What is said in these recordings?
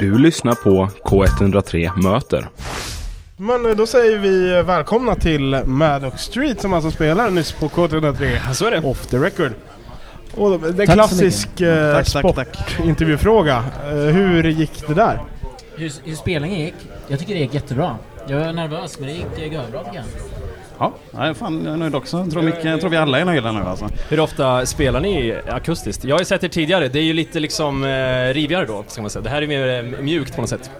Du lyssnar på K103 Möter. Men eh, då säger vi välkomna till Maddox Street som alltså spelar nyss på K103. Så är det. Off the record. Och det är Tack så klassisk eh, Tack, tack, tack. sportintervjufråga. Eh, hur gick det där? Hur, hur spelningen gick? Jag tycker det gick jättebra. Jag var nervös men det gick eh, görbra tycker jag. Ja, nej, fan, jag är nöjd också. Jag tror, mycket, jag tror vi alla är nöjda nu alltså. Hur ofta spelar ni akustiskt? Jag har ju sett er tidigare, det är ju lite liksom eh, rivigare då, ska man säga. Det här är mer eh, mjukt på något sätt.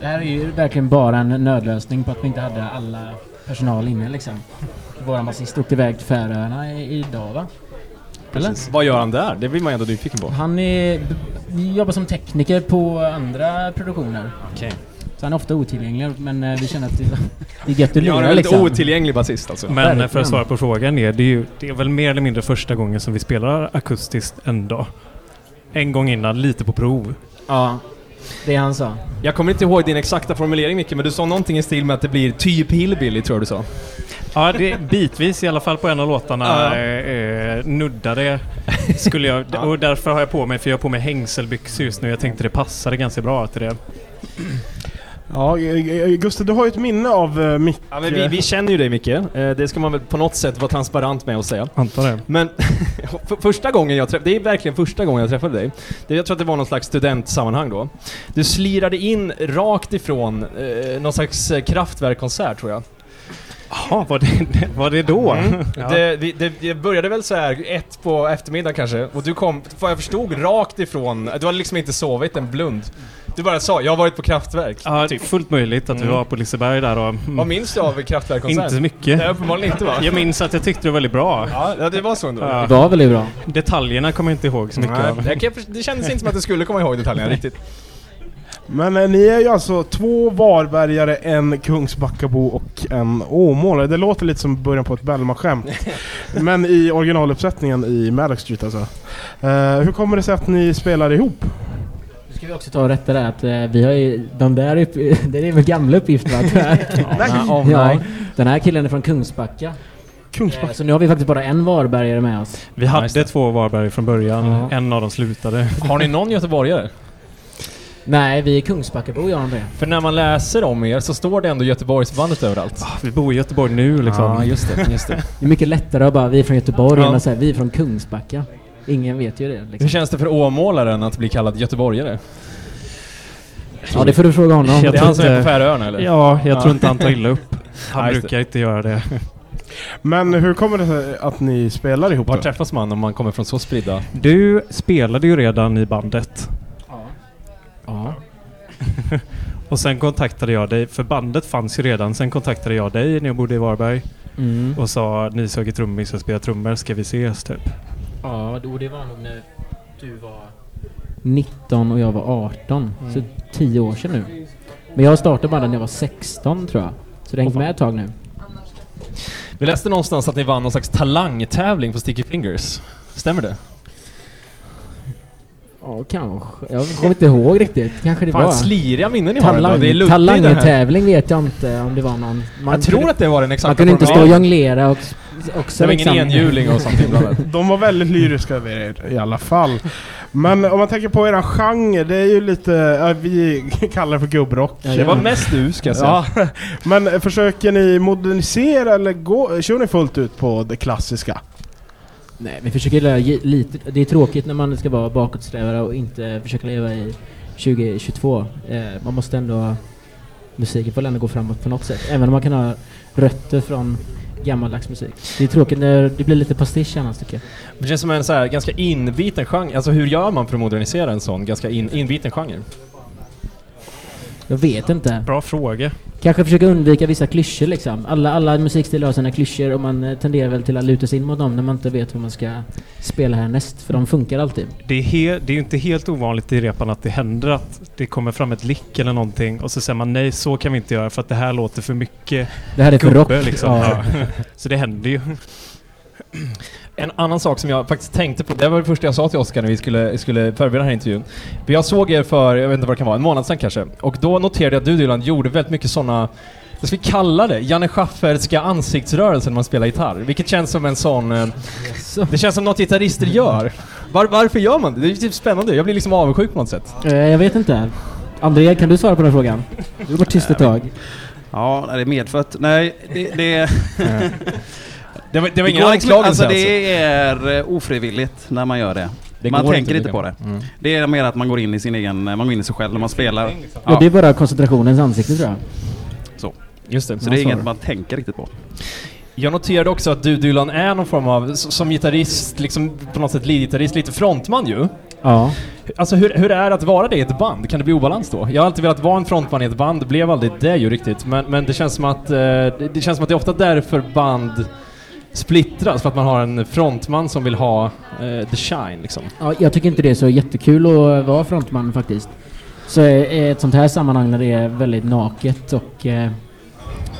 Det här är ju verkligen bara en nödlösning på att vi inte hade alla personal inne liksom. Vår basist åkte iväg till Färöarna i- idag va? Eller? Vad gör han där? Det blir man ju ändå nyfiken på. Han är, b- jobbar som tekniker på andra produktioner. Okej. Så han är ofta otillgänglig men eh, vi känner att det, det är gött att Jag har lira en liksom. lite otillgänglig basist alltså. Men eh, för Verkligen. att svara på frågan är det ju, det är väl mer eller mindre första gången som vi spelar akustiskt en dag. En gång innan, lite på prov. Ja, det han sa. Jag kommer inte ihåg din exakta formulering Micke, men du sa någonting i stil med att det blir typ hillbilly tror jag du sa. Ja, det är bitvis i alla fall på en av Ja. låtarna eh, eh, nuddade skulle jag, och därför har jag på mig, för jag har på mig hängselbyxor just nu. Jag tänkte det passade ganska bra till det. Ja, eh, eh, Gustav, du har ju ett minne av eh, Micke. Ja, men vi, vi känner ju dig Micke, Eh, det ska man väl på något sätt vara transparent med och säga. Antar det. Men för- första gången jag träffade det är verkligen första gången jag träffade dig. Det, jag tror att det var någon slags studentsammanhang då. Du slirade in rakt ifrån eh, någon slags eh, kraftverkkonsert tror jag. Mm. Jaha, var det, var det då? Ja. Det, vi- det, det började väl så här ett på eftermiddagen kanske, och du kom, vad jag förstod, rakt ifrån, du hade liksom inte sovit en blund. Du bara sa 'Jag har varit på kraftverk' Ja, fullt möjligt att vi var på Liseberg där och... Vad Mm, minns du av kraftverkkonsert? inte så mycket. Nej, uppenbarligen inte va? Jag minns att jag tyckte det var väldigt bra. Ja, ja, det var så ändå. Ja. Det var väldigt bra. Detaljerna kommer jag inte ihåg så mycket Nej, av. jag kan, förs- det kändes inte som att du skulle komma ihåg detaljerna riktigt. Men eh, ni är ju alltså två Varbergare, en Kungsbackabo och en Åmålare. Det låter lite som början på ett Bellman-skämt. Men i originaluppsättningen i Maddox Street alltså. Eh, hur kommer det sig att ni spelar ihop? Nu ska vi också ta och rätta det här att eh, vi har ju, de där upp, det är väl gamla uppgifter va? tyvärr. Nej, ja, den här killen är från Kungsbacka. Eh, Kungsbacka. Så nu har vi faktiskt bara en Varbergare med oss. Vi hade två Varberg från början, Ja. en av dem slutade. Har ni någon göteborgare? Nej, vi är Kungsbackabor jag och André. För när man läser om er så står det ändå Göteborgsbandet överallt. Ah, Vi bor i Göteborg nu liksom. just det. Just det. Det är mycket lättare att bara, vi är från Göteborg, Ja. än att säga, vi är från Kungsbacka. Ingen vet ju det Hur liksom. känns det för Åmålaren att bli kallad göteborgare? Ja, det får du fråga honom. Jag det är tror han som är på inte- Färöarna eller? Ja, jag tror inte han tar illa upp. Han Ja, just brukar inte göra det. Men hur kommer det sig att ni spelar ihop? Var då? träffas man om man kommer från så spridda? Du spelade ju redan i bandet. Ja. Och sen kontaktade jag dig, för bandet fanns ju redan. Sen kontaktade jag dig när jag bodde i Varberg Mm. och sa ni söker trummis och spelar trummor, ska vi ses typ? Ja, och det var nog när du var Mm. 19 och jag var 18. Så 10 år sedan nu. Men jag startade bara när jag var 16 tror jag. Så det har hängt med ett tag nu. Vi läste någonstans att ni vann någon slags talangtävling på Sticky Fingers. Stämmer det? Ja, kanske. Jag kommer inte ihåg riktigt. Kanske det Fan, var. sliriga minnen ni har ändå. Talang, Det är luddigt det här. talangtävling vet jag inte om det var någon. Man Jag tror att det var den exakta Man kunde inte stå och formuleringen. jonglera och, liksom- och Det var ingen enhjuling och sånt inblandat. De var väldigt lyriska över er i alla fall. Men om man tänker på eran genre, det är ju lite, ja, vi kallar det för gubbrock. Ja, Det var mest du ska jag säga. Ja, men eh, försöker ni modernisera eller gå, kör ni fullt ut på det klassiska? Nej, vi försöker leva ge- lite... Det är tråkigt när man ska vara bakåtsträvare och inte försöka leva i 2022. Eh, man måste ändå... Musiken får ändå gå framåt på något sätt. Även om man kan ha rötter från gammaldags musik. Det är tråkigt när det blir lite pastisch annars tycker jag. Det känns som en så här ganska inbiten genre. Alltså hur gör man för att modernisera en sån ganska in, inbiten genre? Jag vet inte. Bra fråga. Kanske försöka undvika vissa klyschor liksom. Alla, alla musikstilar har sina klyschor och man eh, tenderar väl till att luta sig in mot dem när man inte vet vad man ska spela härnäst. För de funkar alltid. Det är, he- det är ju inte helt ovanligt i repan att det händer att det kommer fram ett lick eller någonting och så säger man nej, så kan vi inte göra för att det här låter för mycket Det här är för rock. gubbe liksom. Ja. Ja. Så det händer ju. En annan sak som jag faktiskt tänkte på, det var det första jag sa till Oskar när vi skulle, skulle förbereda den här intervjun. För Jag såg er för, jag vet inte vad det kan vara, en månad sedan kanske. Och då noterade jag att du Dylan gjorde väldigt mycket sådana, vad ska vi kalla det? Janne Schafferska ansiktsrörelser när man spelar gitarr. Vilket känns som en sån... eh, Så. Det känns som något gitarrister gör. Var, varför gör man det? Det är ju typ spännande. Jag blir liksom avundsjuk på något sätt. Eh, Jag vet inte. André, kan du svara på den frågan? Du har varit tyst ett tag. Ja, det är medfött. Nej, det, det, Det var, det var det ingen går liksom, anklagelse alltså, alltså? det är eh, ofrivilligt när man gör det. Det man går tänker inte tydligen. på det. Mm. Det är mer att man går in i sin egen, man går in i sig själv när man spelar. Ja. det är bara koncentrationens ansikte tror jag. Just det. Så det är inget man tänker riktigt på. Jag noterade också att du Dylan är någon form av, s- som gitarrist, liksom på något sätt leadgitarrist, lite frontman ju. Ja. Alltså hur, hur är det att vara det i ett band? Kan det bli obalans då? Jag har alltid velat vara en frontman i ett band, blev aldrig det ju riktigt. Men, men det känns som att, eh, det, det känns som att det är ofta därför band splittras, för att man har en frontman som vill ha eh, the shine liksom. ja. Jag tycker inte det är så jättekul att vara frontman faktiskt. Så eh, ett sånt här sammanhang när det är väldigt naket och eh,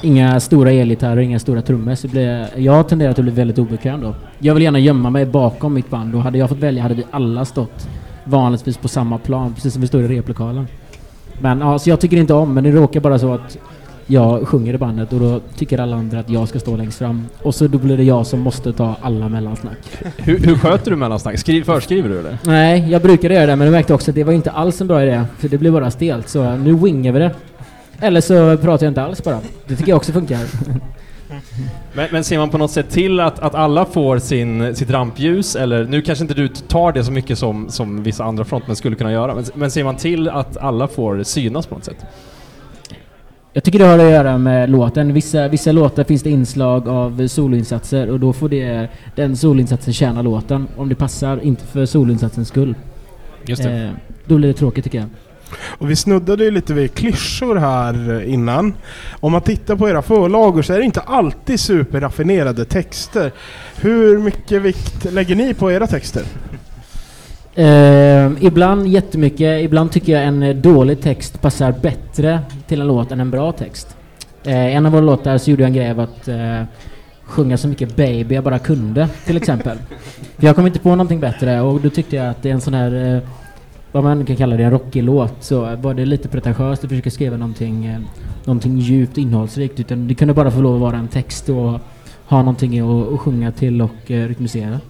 inga stora elgitarrer, inga stora trummor så blir jag, jag tenderar att bli väldigt obekväm då. Jag vill gärna gömma mig bakom mitt band och hade jag fått välja hade vi alla stått vanligtvis på samma plan, precis som vi står i replokalen. Men ja, så jag tycker inte om, men det råkar bara så att jag sjunger i bandet och då tycker alla andra att jag ska stå längst fram. Och så då blir det jag som måste ta alla mellansnack. Hur, hur sköter du mellansnack? Skriv, förskriver du eller? Nej, jag brukade göra det men jag märkte också att det var inte alls en bra idé. För det blir bara stelt så nu wingar vi det. Eller så pratar jag inte alls bara. Det tycker jag också funkar. Men, men ser man på något sätt till att, att alla får sin, sitt rampljus, eller nu kanske inte du tar det så mycket som, som vissa andra frontmän skulle kunna göra, men, men ser man till att alla får synas på något sätt? Jag tycker det har att göra med låten. Vissa, vissa låtar finns det inslag av soloinsatser och då får det, den soloinsatsen tjäna låten. Om det passar, inte för soloinsatsens skull. Just Eh, då blir det tråkigt tycker jag. Och vi snuddade ju lite vid klyschor här eh, innan. Om man tittar på era förlagor så är det inte alltid superraffinerade texter. Hur mycket vikt lägger ni på era texter? Eh, ibland jättemycket, ibland tycker jag en eh, dålig text passar bättre till en låt än en bra text. Eh, en av våra låtar så gjorde jag en grej av att eh, sjunga så mycket baby jag bara kunde, till exempel. För jag kom inte på någonting bättre och då tyckte jag att det är en sån här, eh, vad man kan kalla det, en rockig låt, så var det lite pretentiöst att försöka skriva någonting, eh, någonting djupt och innehållsrikt. Utan det kunde bara få lov att vara en text och ha någonting att, att sjunga till och eh, rytmisera.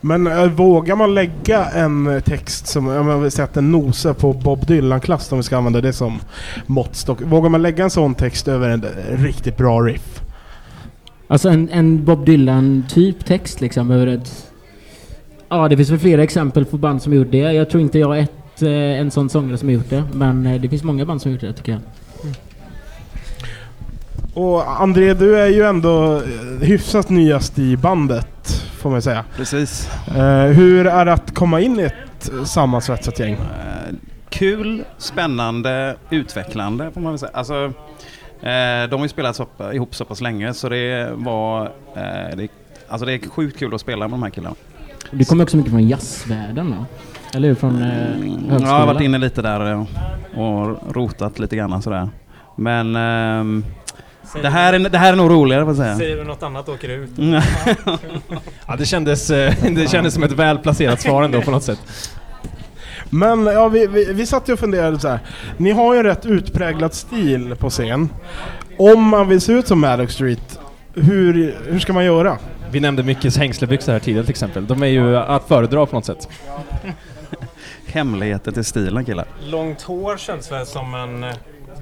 Men eh, vågar man lägga en eh, text som, jag vill säga att den nosar på Bob Dylan-klass om vi ska använda det som måttstock. Vågar man lägga en sån text över en eh, riktigt bra riff? Alltså en, en Bob Dylan-typ text liksom över ett... Ja, det finns väl flera exempel på band som gjort det. Jag tror inte jag är ett, eh, en sån sångare som har gjort det. Men eh, det finns många band som har gjort det tycker jag. Och André, du är ju ändå eh, hyfsat nyast i bandet, får man säga. Precis. Eh, hur är det att komma in i ett eh, sammansvetsat gäng? Eh, Kul, spännande, utvecklande får man väl säga. Alltså, eh, de har ju spelat så, ihop så pass länge så det var... Eh, det, alltså det är sjukt kul att spela med de här killarna. Du kommer också mycket från jazzvärlden va? Eller hur? Från eh, Ja, högskolan? Mm, jag har varit inne lite där eh, och rotat lite grann sådär. Men ehm, det, här är, det här är nog roligare får jag säga. Säger du något annat åker du ut. Mm. Ja, det kändes, eh, det kändes som ett välplacerat svar ändå på något sätt. Men ja, vi, vi, vi satt ju och funderade så här. Ni har ju en rätt utpräglad stil på scen. Om man vill se ut som Maddox Street, hur, hur ska man göra? Vi nämnde Mickes hängslebyxor här tidigare till exempel. De är ju att föredra på något sätt. Hemligheten till stilen killar. Långt hår känns väl som en eh,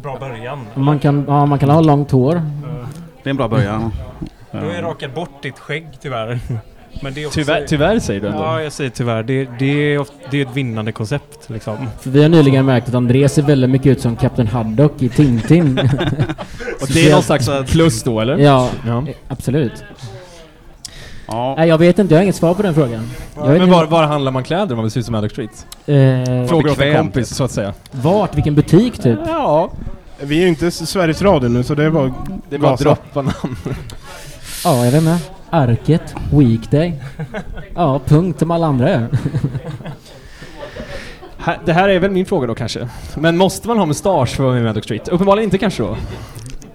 bra början. Man kan, ja, man kan ha långt hår. Det är en bra början. Du har ju rakat bort ditt skägg tyvärr. Men det är också, Tyvärr, tyvärr säger du ändå. Ja, jag säger tyvärr. Det, det, är, ofta, det är ett vinnande koncept liksom. För vi har nyligen märkt att André ser väldigt mycket ut som Kapten Haddock i Tintin. och det är någon slags plus då eller? ja, Ja. eh, absolut. Ja, Nej, jag vet inte. Jag har inget svar på den frågan. Jag vet Men inte- var, var handlar man kläder om man vill se ut som Alex Street? eh, Fråga åt en bekvämt. kompis så att säga. vart? Vilken butik typ? Ja, Vi är ju inte S- Sveriges Radio nu så det är bara det är bara att Gasa. droppa namn. Ja, jag vet inte. Arket, Weekday. Ja, punkt som alla andra gör. Här- Det här är väl min fråga då kanske. Men måste man ha mustasch för att vara med i Alex Street? Uppenbarligen inte kanske då.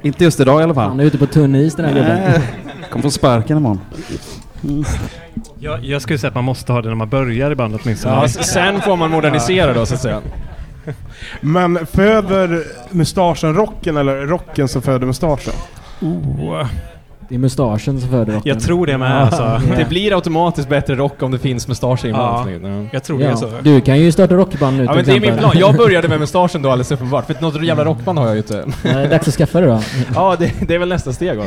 inte just idag i alla fall. Han är ute på tunn is den här gubben. Nej, Kommer få sparken imorgon. Jag, jag skulle säga att man måste ha det när man börjar i bandet liksom. Ja, åtminstone. s- sen får man modernisera då så att säga. Men föder mustaschen rocken eller rocken som föder mustaschen? Oh. Det är mustaschen som föder rocken. Jag tror det med Ja. alltså. Ja. Det blir automatiskt bättre rock om det finns mustascher Ja. inblandat. Ja. Jag tror det alltså. är ja. så. Du kan ju starta rockband nu Ja, till men det är exempel. min plan. Jag började med mustaschen då alldeles uppenbart, för att något Mm. jävla rockband har jag ju inte. Eh, Dags att skaffa det då. Ja, det, det är väl nästa steg va?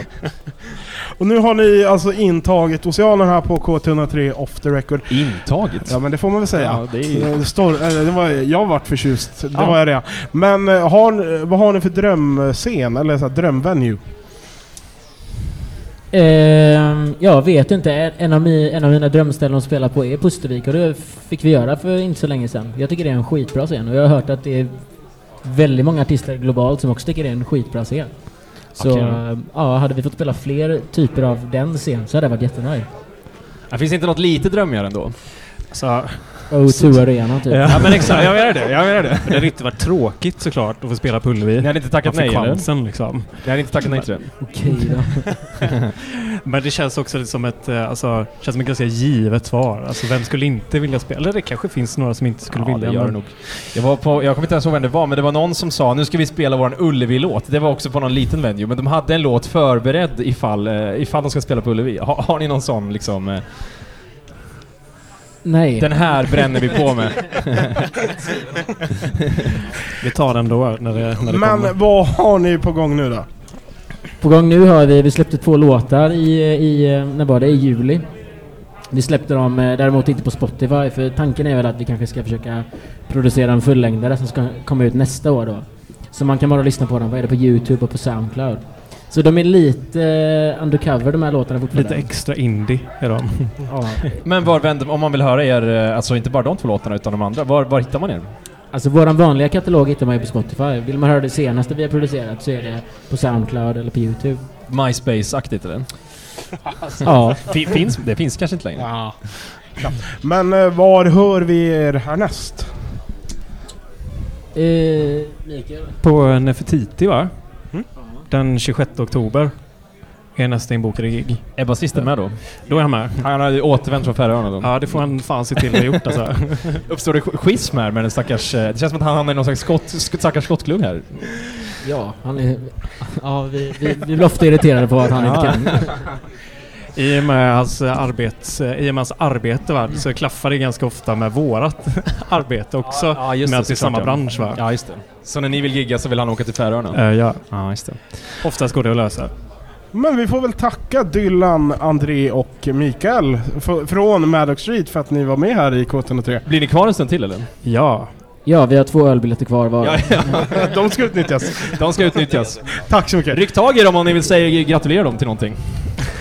Och nu har ni alltså intagit Oceanen här på K103 off the record. Intaget? Ja men det får man väl säga. Ja, det är ju- Eh, Stor, eh, det var, jag vart förtjust, det Ja. var jag det. Men eh, har, eh, vad har ni för drömscen, eller så här, drömvenue? Ehm, jag vet inte. En av, mi, en av mina drömställen att spela på är Pustervik och det fick vi göra för inte så länge sedan. Jag tycker det är en skitbra scen och jag har hört att det är väldigt många artister globalt som också tycker det är en skitbra scen. Så Okej. ehm, ja, hade vi fått spela fler typer av den scenen så hade jag varit jättenöjd. Det finns inte något lite drömmigare ändå? Alltså, O2 Arena typ. ja. Ja. ja men exakt, jag menar det. Jag menar det. Det hade inte varit tråkigt såklart att få spela på Ullevi. Ni hade inte Man tackat fick nej eller? chansen liksom. Ni hade inte tackat nej till det? Okej då. Men det känns också lite som ett, eh, alltså, känns som ett ganska givet svar. Alltså vem skulle inte vilja spela? Eller det kanske finns några som inte skulle ja, vilja. det gör det men- nog. Jag, var på, jag kommer inte ens ihåg vem det var, men det var någon som sa nu ska vi spela vår Ullevi-låt. Det var också på någon liten venue, men de hade en låt förberedd ifall, eh, ifall de ska spela på Ullevi. Har, har ni någon sån liksom? eh, Nej. Den här bränner vi på med. Vi tar den då när det, när det kommer. Men vad har ni på gång nu då? På gång nu har vi, vi släppte två låtar i, i eh, när var det? I juli. Vi släppte dem eh, däremot inte på Spotify för tanken är väl att vi kanske ska försöka producera en fullängdare som ska komma ut nästa år då. Så man kan bara lyssna på dem, vad är det på Youtube och på Soundcloud. Så de är lite eh, undercover de här låtarna Lite fortfarande. extra indie är de. ja. Men var vänder, om man vill höra er, eh, alltså inte bara de två låtarna utan de andra, var, var hittar man er? Alltså våran vanliga katalog hittar man ju på Spotify. Vill man höra det senaste vi har producerat så är det på Soundcloud eller på Youtube. MySpace-aktigt eller? Ja. Fin- finns, det finns kanske inte längre. Ja. Men eh, var hör vi er härnäst? Eh, Mikael? På eh, Nefertiti va? Mm. Den 26 oktober är nästa inbokade gig. Är basisten med då? Då är han med. Han har ju återvänt från Färöarna då. Ja, det får han fan se till att ha gjort alltså. Uppstår det sch- schism här med den stackars... eh, Det känns som att han hamnar i någon slags skott, sk- stackars skottklubb här. Ja, han är... Ja, vi, vi, vi blir ofta irriterade på att han inte kan. I och med hans, eh, arbets, eh, i och med hans arbete va? så klaffar det ganska ofta med vårat arbete också. Ja, just med det, att det är såklart, samma ja. bransch va? Ja, just det. Så när ni vill gigga så vill han åka till Färöarna? Eh, ja. Ja, just det. Oftast går det att lösa. Men vi får väl tacka Dylan, André och Mikael f- från Maddox Street för att ni var med här i K103. Blir ni kvar en stund till eller? Ja. Ja, vi har två ölbiljetter kvar var. De ska utnyttjas. De ska utnyttjas. Tack så mycket. Ryck tag i dem om ni vill säga gratulera dem till någonting.